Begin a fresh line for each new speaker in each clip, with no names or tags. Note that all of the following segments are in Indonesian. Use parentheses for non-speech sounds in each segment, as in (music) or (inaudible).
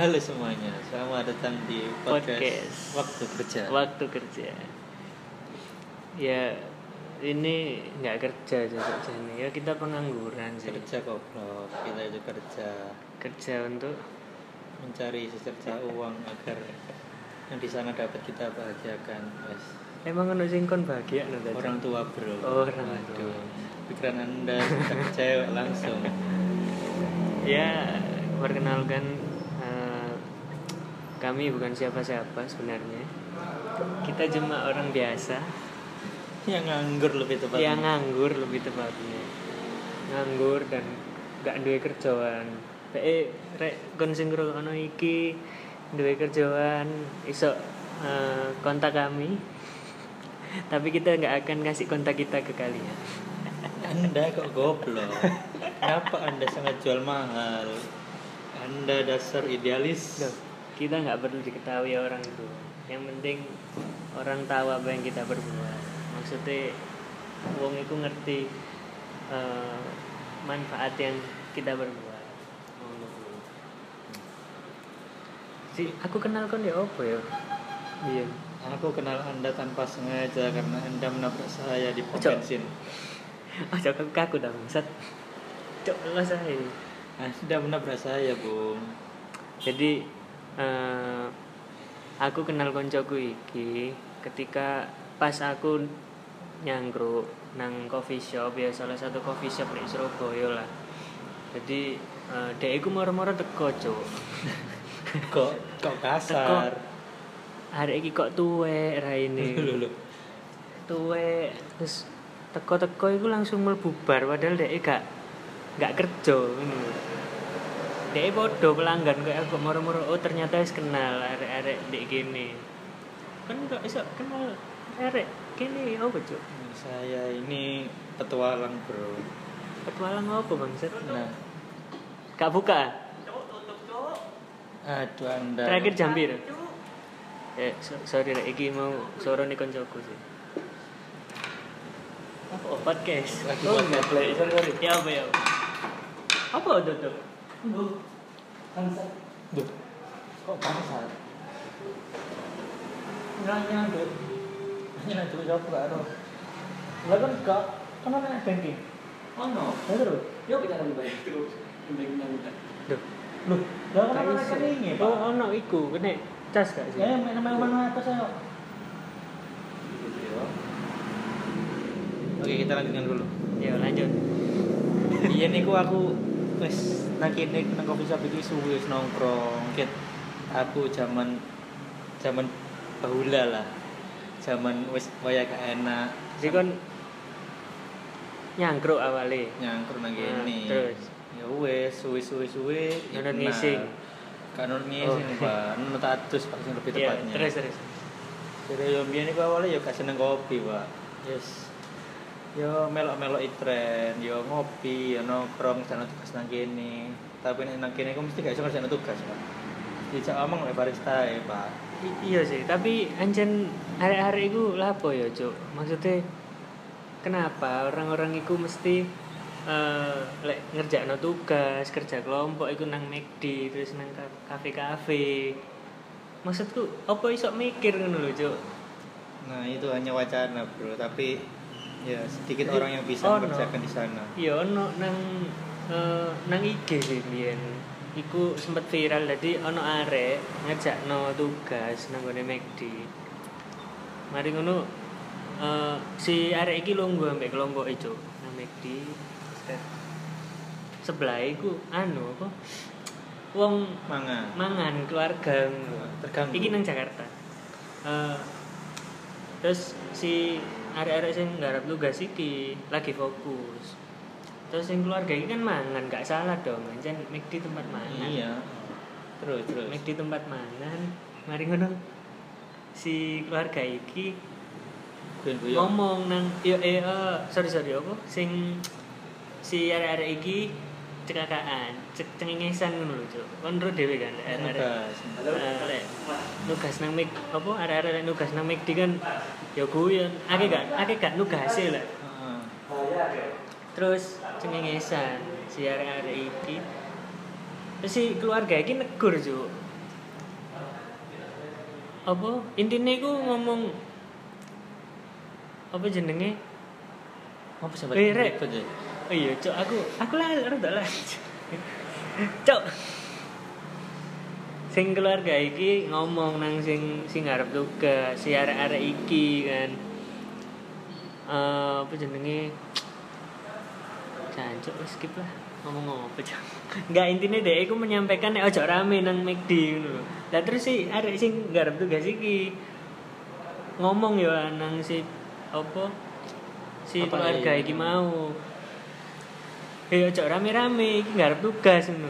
Halo semuanya, selamat datang di podcast,
Podcast.
waktu kerja.
waktu kerja ya ini nggak kerja juga jadi ya kita pengangguran sih
kerja goblok, kita itu kerja
kerja untuk
mencari secerca uang agar yang di sana dapat kita bahagiakan. Wes,
emang ono sing kon bahagia no Caca?
orang tua bro.
Oh, orang
Aduh,
tua.
pikiran anda sudah kecewa langsung.
ya perkenalkan eh, kami bukan siapa-siapa sebenarnya kita cuma orang biasa
Yang nganggur lebih tepatnya.
yang Iya, nganggur lebih tepatnya nganggur dan gak duwe kerjaan eh rek kon sing ngrungokno iki duwe kerjaan iso eh, kontak kami (laughs) tapi kita nggak akan kasih kontak kita ke kalian
Anda kok goblok? Kenapa Anda sangat jual mahal? Anda dasar idealis.
Loh, kita nggak perlu diketahui orang itu yang penting orang tahu apa yang kita berbuat maksudnya wong itu ngerti eh, manfaat yang kita berbuat Ngono kuwi. si aku kenal kon ya apa ya iya
Aku kenal Anda tanpa sengaja karena Anda menabrak saya di pom
Cok.
bensin.
oh cok aku kaku dah bangsat cok lo saya
Anda menabrak saya, ya, Bung.
jadi eh, aku kenal koncoku iki ketika pas aku nyangkruk nang coffee shop ya salah satu coffee shop di Surabaya lah jadi eh, dia iku moro-moro teko cuk
Kok kok kasar?
hari iki kok tuwek raine
(laughs) Lho lho.
tuwek terus teko-teko iku langsung mlebu bar padahal dia gak gak kerja ngono dia podo pelanggan kayak aku moro-moro oh ternyata wis kenal arek-arek dek gini kan gak iso kenal arek gini oh bejo
Saya ini petualang, Bro.
petualang apa bangsat
Nah,
gak buka
aduh Anda.
terakhir jambir eh so- sorry rek iki mau suara nih koncoku sih apa oh, podcast
Lagi
oh,
buat ngeplay, sorry, sorry.
ya apa ya apa? apa tuh tuh
Duh. Kok kasar? Nanya, Duh. Nanya itu jawab gak ero. Lah kan kok kan ana banking. Ono. Ya terus.
Yuk kita lebih baik terus lebih baik
Duh,
Loh, lah kan
gak
ana
iso.
rekeninge, Pak.
Oh, ono iku, kene cas gak sih?
Ya, main-main atas ayo. Oke, kita lanjutkan dulu.
Ya, lanjut.
Iya niku aku wis nang kene nang coffee shop iki suwe wis nongkrong. Ket aku zaman zaman bahula lah. Zaman wis waya gak enak.
Jadi kon nyangkruk awale.
nyangkrut nang
Nah,
kene.
terus?
ya wis suwe-suwe suwe. ya
Nonton
kenal.
ngising.
Gak nonton ngising,
Oh.
Pak. Nonton tatus Pak sing lebih
Iya,
tepatnya.
terus terus.
Jadi yo mbiyen iku awalnya yo gak seneng kopi, Pak. Yes. Yo melok-melok tren, yo ngopi, yo nongkrong sana tugas nang kene. Tapi nek nang kene iku mesti gak iso ngerjain tugas, Pak. Dijak omong oleh barista ya, Pak.
I- iya sih, tapi anjen arek-arek iku lapo ya, Cuk? Maksudnya kenapa orang-orang iku mesti eh lek ngerjakno tugas, kerja kelompok iku nang McD, terus nang ka- kafe-kafe. Maksudku, apa iso mikir ngono lho, Cuk?
Nah, itu hanya wacana, Bro, tapi ya sedikit
Jadi,
orang yang bisa
oh, no.
mengerjakan di sana.
Iya ono nang eh, nang IG sih biyen. Iku sempat viral dadi ono arek ngejakno tugas nang gone McD. Mari ngono eh, si arek iki lungguh ambek kelompok itu nang McD. Set. Sebelah iku anu apa? Wong
Manga.
mangan keluarga ngono.
Terganggu.
Iki nang Jakarta. Eh, terus si arek-arek sing nggarap tugas iki lagi fokus. Terus yang keluarga iki kan mangan, gak salah dong. Jan McD tempat mangan.
Iya. Terus, terus.
McD tempat mangan. Mari ngono. Si keluarga iki
Ben guyon.
ngomong nang yo eh eh, sorry sorry apa sing si arek-arek iki cekakaan, cek cengengesan ngono lho, Cuk. Kon ro dhewe kan arek-arek.
Tugas.
Arek nugas nang mik apa arek-arek nugas nang mik kan ya guyon akeh gak akeh gak nugase lah
Heeh.
terus cengengesan si arek-arek iki terus si keluarga iki negur juk apa intinya iku ngomong apa jenenge
Apa sih?
Eh, Rek.
Ribet ya?
oh iya cok aku aku lah rada lah cok sing keluarga iki ngomong nang sing sing arep tugas si arek-arek iki kan Eh, apa jenenge Jancuk wis skip lah ngomong apa cok (laughs) nggak intinya deh aku menyampaikan nek ojo rame nang McD ngono lho. lah terus si arek sing ngarep tugas iki ngomong ya nang si apa si
Apa ya?
keluarga
nih?
iki mau eh ojo rame-rame iki ngarep tugas ngono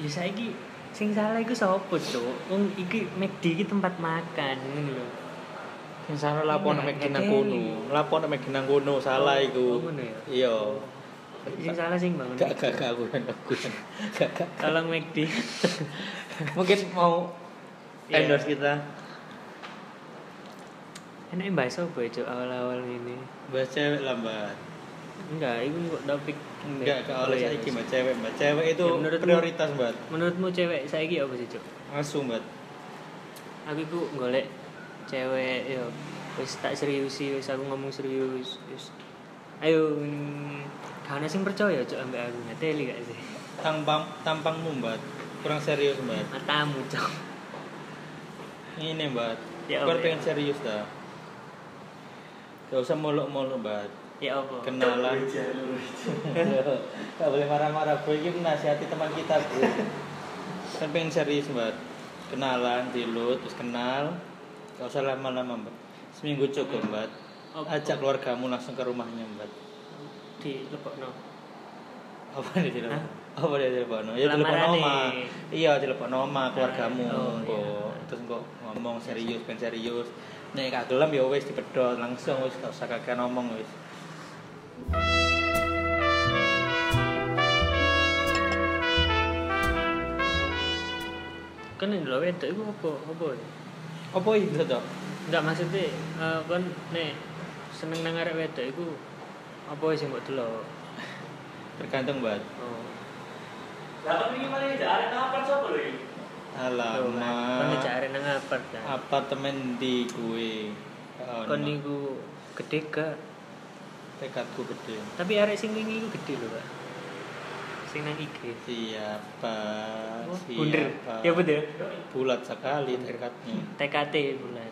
ya saiki sing salah iku sapa cuk wong iki McD iki tempat makan ngono lho
Yang salah lapor nang
Nah,
Mekin nang
ngekei.
kono. Lapor nang Mekin nang kono
Oh,
salah
oh,
iku.
ngono ya?
Iya.
sing salah sing bangun
Gak gak gak aku yang aku. yang- Gak gak.
tolong McD
Mungkin mau
Iya.
endorse kita
enak bahas apa ya Cuk, awal-awal ini
bahas cewek lambat.
enggak itu kok topik
Enggak, gak oleh
Ya,
saiki
Mas.
mbak cewek, mbak cewek itu
Ya, menurutmu-
prioritas mbak.
menurutmu cewek saiki apa sih cuk
Langsung mbak.
aku iku golek cewek yo wis tak serius wis aku ngomong serius wis ayo mm, gak ana sing percaya cuk ambek aku ngateli gak sih (laughs)
Tampang tampangmu mbak kurang serius mbak.
matamu cuk
Ini mbak.
Ya,
Kau
Mbak.
pengen serius dah. Gak usah muluk-muluk (laughs) mbak.
ya apa
Kenalan. Gak boleh marah-marah Bu, ini menasihati teman kita Bu Kan pengen serius Mbak Kenalan, dilut, terus kenal Gak usah lama-lama Mbak Seminggu cukup Mbak
Apa?
Ajak keluargamu langsung ke rumahnya Mbak
di lepokno
Apa dia telepon? Apa dia telepon? Ya
Lamaran
telepon
nih.
Oma Iya telepon Oma, keluargamu
Oh,
Bu.
iya.
Terus kok ngomong serius, pengen serius Nek gak gelem ya wis dipedot langsung wis gak usah kakek ngomong wis
kan yang lho wedok iku apa apa ya?
Apa itu toh?
enggak maksudnya eh, kon nek seneng nang arek wedok iku apa sih mbok delok
Tergantung Mbak
oh Kon
Alamak
ngejak arek nang apart kan
apartemen di gue oh,
kon niku gede gak
tekadku gede
tapi arek sing wingi iku gede lho Pak sing nang IG
siapa
Oh,
siapa
bunder ya bener
bulat sekali tekadnya
TKT bulan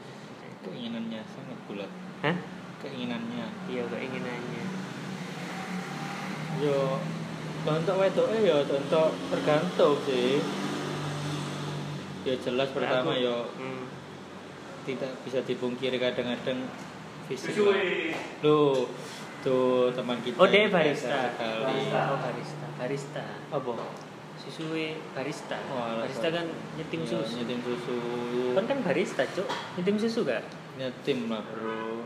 keinginannya sangat bulat
hah
keinginannya
iya kok ingin nanya
yo contoh wedok eh yo contoh tergantung sih ya jelas pertama
Aku-
yo
hmm.
tidak bisa dipungkiri kadang-kadang fisik lo tuh teman kita
oh deh
ini
barista
biasa sekali.
barista oh barista barista
apa
susuwe barista
Oh, alah,
barista
sorry.
kan nyetim
Ya,
susu
nyetim susu
kon kan barista cuk nyetim susu gak
nyetim lah bro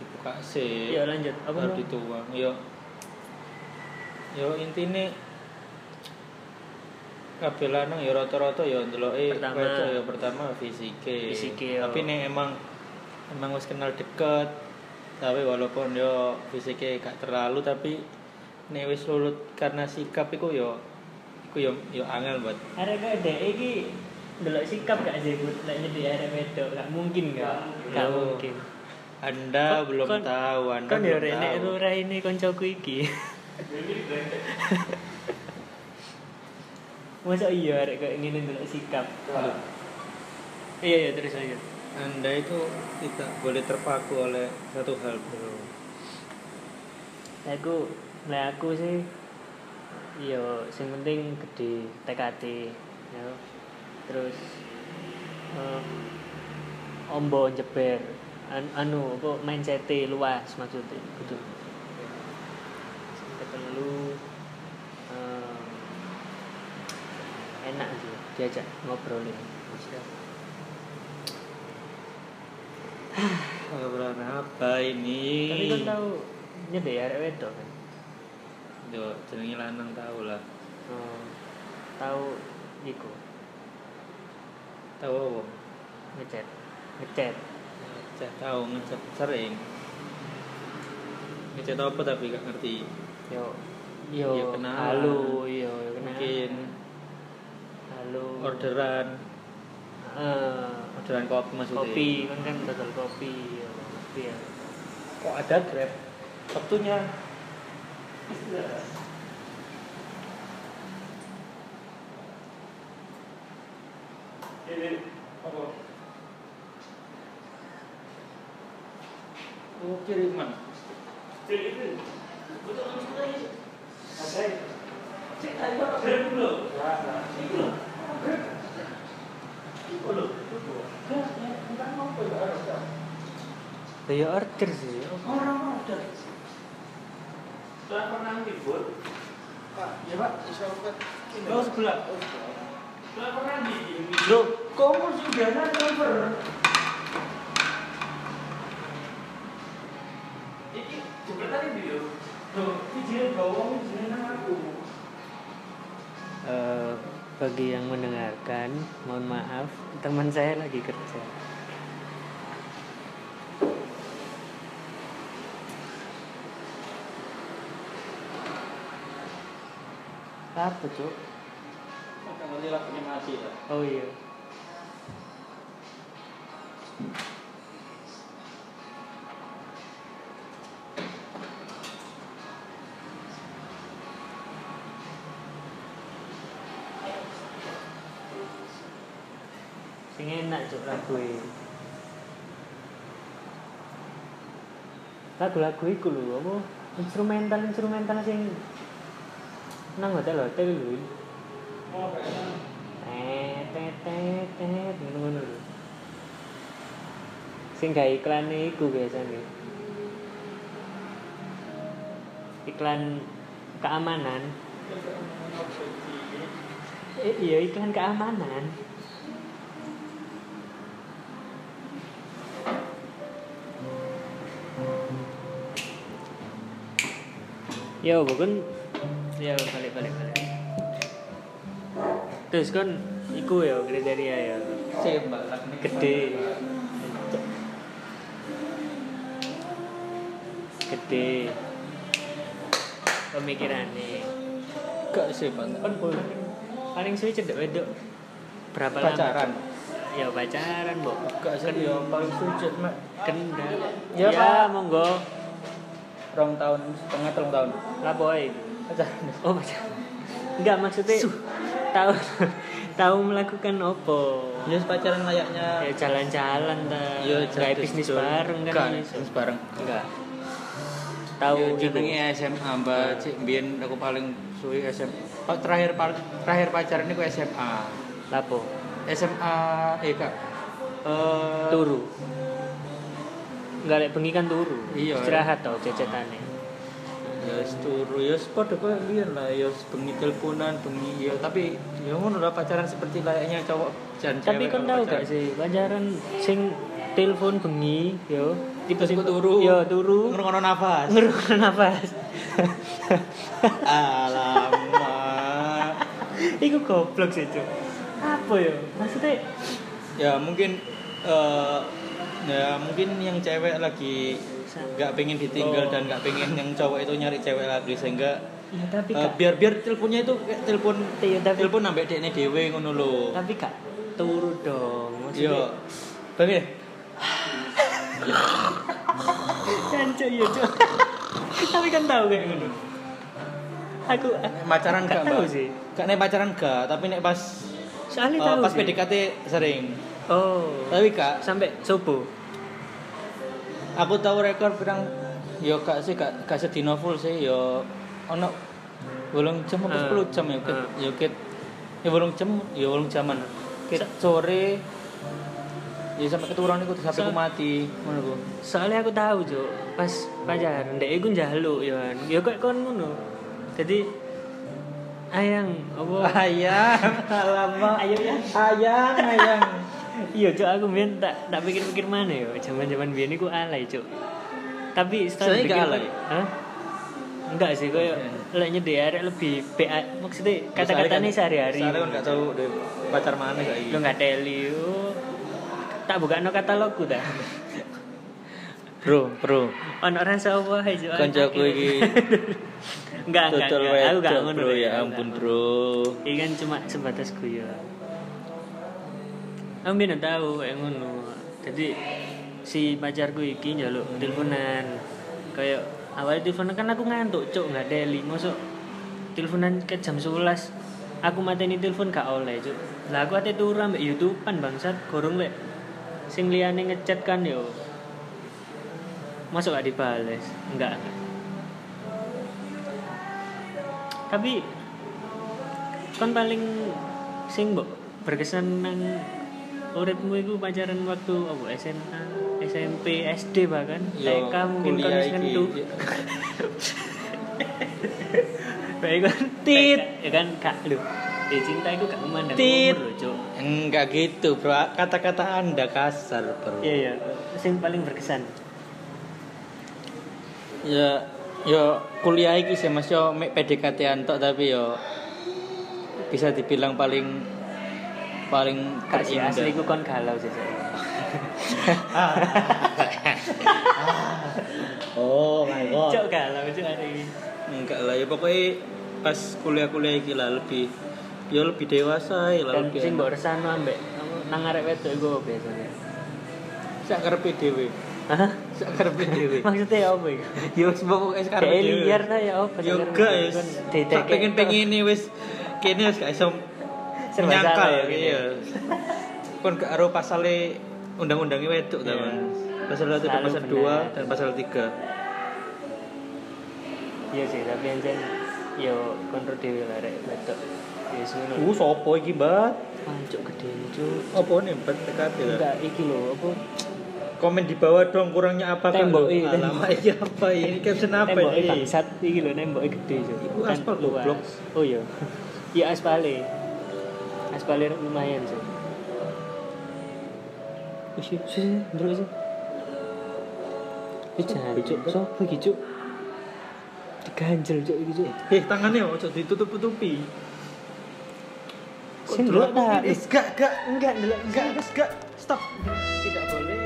dibuka sih
iya lanjut apa
baru
mau?
dituang yo yo intine kabeh lanang yo rata-rata yo ndeloki
Pertama.
wedok yo pertama fisike
Fisike, yo.
tapi nek emang emang wis kenal deket tapi walaupun yo fisike gak terlalu tapi nek wis lulut karena sikap iku yo iku yo yo angel buat
Arek gak ada E iki delok sikap gak sih buat lek nyedi arek wedok E gak mungkin gak gak
Yo.
mungkin
Anda
Kon-
belum
kon-
tahu Anda
kan ya
belum
rene
tahu.
lura ini koncoku (laughs) iki masa iya arek gak ingin delok sikap iya iya terus lanjut
Anda itu tidak boleh terpaku oleh satu hal bro.
aku lah aku sih iya sing penting gede TKT ya terus eh, ombo jeber An- anu apa mindset luas maksudnya gitu sampai terlalu eh, enak sih diajak ngobrolin
Obrolan apa ini?
tapi kan tahu nyedek arek wedok kan
Yo, jenenge lanang tahu lah.
Eh, tahu iku
Tahu apa?
ngechat ngechat
Ngecek tahu ngecek sering. Ngecek apa tapi gak ngerti.
yo yo
Ya, kenalan. Nah.
halo yo kenal
Mungkin
halo
orderan.
eh,
Modelan kopi maksudnya.
kopi kan kan total kopi ya, kopi ya.
Kok ada Grab? Sabtunya.
Ini apa?
Oh, kiriman.
Cek itu. Betul kamu sudah ini. Ada. Cek tadi kok grab dulu. Itu loh. Grab. Itu loh. Grab, ya, entah apa ya, harus, ya.
Lah, ya order sih
Orang order. Sudah pernah libur?
Pak, ya Pak, bisa buka ini.
Oh, sebelah.
Oh, sebelah.
Sudah pernah di ini.
Bro,
Kamu sudah ada nomor. Iki jebret tadi dia. Loh, iki jenenge bawang, iki jenenge aku.
Eh, bagi yang mendengarkan mohon maaf teman saya lagi kerja apa tuh
Nggak ngerti lagunya mati lah.
oh iya sing enak cuk lagu e. lagu-lagu iku lho apa instrumental instrumental sing nang hotel hotel lho
Mau apa ya?
tet tet tet tet ngono-ngono lho sing gawe iklane iku biasane iklan keamanan eh, iya iklan keamanan Ya, bukan. Ya, balik balik balik. Terus kan iku ya kriteria ya.
Sih, Mbak, lagunya
Gede. Gede. Pemikirannya.
Enggak sih, Mbak.
Kan boleh. Paling suwe cedek wedok. Berapa lama?
Pacaran.
Ya pacaran, Mbok.
Enggak sih, ya paling sujud, Mbak.
Kendal. Ya,
Ya, Pak.
monggo.
Rong tahun setengah telung tahun.
Laboy.
Pacaran.
Oh, pacaran. Enggak maksudnya tahu tahu melakukan opo.
Ya, pacaran layaknya
ya jalan-jalan dah
jalan
kayak bisnis
duduk.
bareng
Enggak,
kan iso.
bisnis bareng.
enggak tahu
Yo,
itu
jenenge SMA mbak cik mbien aku paling suwi SMA Pa- terakhir pa- terakhir pacaran niku SMA
lapo
SMA eh kak eh
turu enggak lek bengi kan turu
Iya.
istirahat tau cecetane
ya wis turu ya wis padha koyo mbien lah ya wis bengi teleponan bengi ya tapi ya ngono lah pacaran seperti layaknya cowok dan
tapi
cewek
kan tahu
kalau pacaran.
gak sih pacaran sing telepon bengi yo
tiba-tiba turu
yo turu
ngerungono nafas
(laughs) ngerungan nafas
alamak
iku goblok sih cuk apa yo maksudnya
ya mungkin eh, ya mungkin yang cewek lagi nggak pengen ditinggal
Oh.
dan nggak pengen yang cowok itu nyari cewek lagi sehingga
ya tapi
eh,
gak
biar biar teleponnya itu kayak telepon
Iya, tapi-
telepon nambah dekne dewe ngono lho Iya.
tapi gak turu dong maksudnya
yo tapi
Cancu ya Cuk. (laughs) Tapi kan tahu kayak ngono. Aku
pacaran
Gak
gak
tahu
mbak
sih.
gak nek pacaran gak tapi nek pas
soalnya
eh,
tahu.
pas
sih.
PDKT sering
Oh.
tapi kak
Sampai subuh.
aku tahu rekor pirang yo gak sih gak gak sedino full sih yo ono bolong jam apa
Ah.
10 jam ya kit
Ah.
yo kit ya bolong jam ya bolong jaman kit
Sa-
sore ya sampai keturunan itu sampai
Sa-
aku mati ngono ku
Soalnya aku tahu Cuk. Pas pacaran ndek iku njaluk ya kan. Ya kok kon ngono. Jadi ayang
(laughs)
apa?
ayang alamak
Ayo ya.
ayang ayang
Iya Cuk aku mbiyen tak tak pikir-pikir mana ya. Zaman-zaman biyen iku alay Cuk. Tapi setelah
Sebenarnya gak
dipikir-
alay.
Hah? Enggak sih, kayak lek nyedek arek lebih PA maksudnya kata-kata ini sehari-hari.
soalnya kan gak tahu deh pacar mana kayak
lu
gitu
nggak teli yo. tak buka no katalogku dah
bro bro
on orang sawah aja
kancaku iki
(laughs) nggak nggak nggak.
total
aku nggak
wedok
ngono
bro
Dek.
ya
Aku
ampun
nggak
bro
ngono. ini kan cuma sebatas guyon aku mbien tahu yang ngono jadi si pacarku iki njaluk teleponan kayak awalnya teleponan kan aku ngantuk cuk nggak deli mosok teleponan ke jam 11 aku mateni telepon gak oleh cuk lah aku ate turu ambek youtubean bangsat gorong lek sing liyane ngechat kan yo masuk gak dibales enggak tapi kan paling sing mbok berkesan nang uripmu iku pacaran waktu apa SMA SMP SD bahkan TK mungkin kan wis ngentu baik kan
Tit.
ya kan kak lu ya cinta itu gak memandang umur
Tit.
lho cok
Enggak gitu, Bro. Kata-kata Anda kasar, Bro.
iya iya sing paling berkesan
Ya, yo kuliah iki sih Mas yo mek PDKT antok tapi yo bisa dibilang paling paling
kak si
terindah.
asli ku kon galau sih Cok.
Oh my god.
cok galau cok hari ini
Enggak lah ya pokoknya pas kuliah-kuliah iki lah lebih yo lebih dewasa ya lah
dan
lebih.
sing mbok resano ambek nang arek wedok iku apa biasanya
Sak karepe dhewe.
Hah?
Sak karepe
(laughs)
dhewe.
maksudnya apa iku
Yo wis pokoknya sak karepe
Kayak
dhewe.
liar lah ya apa
Yo enggak ya. Tak pengen-pengen ini wis kene wis gak iso
Serba salah ya,
menyangkal (laughs)
gini.
iya. Kon gak ero pasale undang-undangnya wedok ta,
Iya.
Mas. Pasal 1 dan
Selalu
pasal
benar.
2 dan pasal 3.
iya sih tapi anjen yo kontrol dhewe lah rek wedok ya ngono
Uh, sopo iki, Mbak?
pancuk gede cuk
Apa nih, Mbak? PKT lah.
enggak iki lho apa
Komen di bawah dong kurangnya apa Kak?
Tembok, iya,
Alamak, iya apa ini? Caption apa
nembok
ini?
bangsat iki lho nembok gede cuk
Iku
Dan
aspal
luas.
goblok.
oh iya iya aspale aspale lumayan cuk Wis, wis, wis, ndelok sih. Wis jancuk, sopo iki cuk? Diganjel cuk iki cuk.
Eh, tangannya ojo ditutup-tutupi.
Sing ndelok ta?
Eh, gak, gak,
Enggak ndelok,
gak, gak, gak. Stop. Tidak boleh.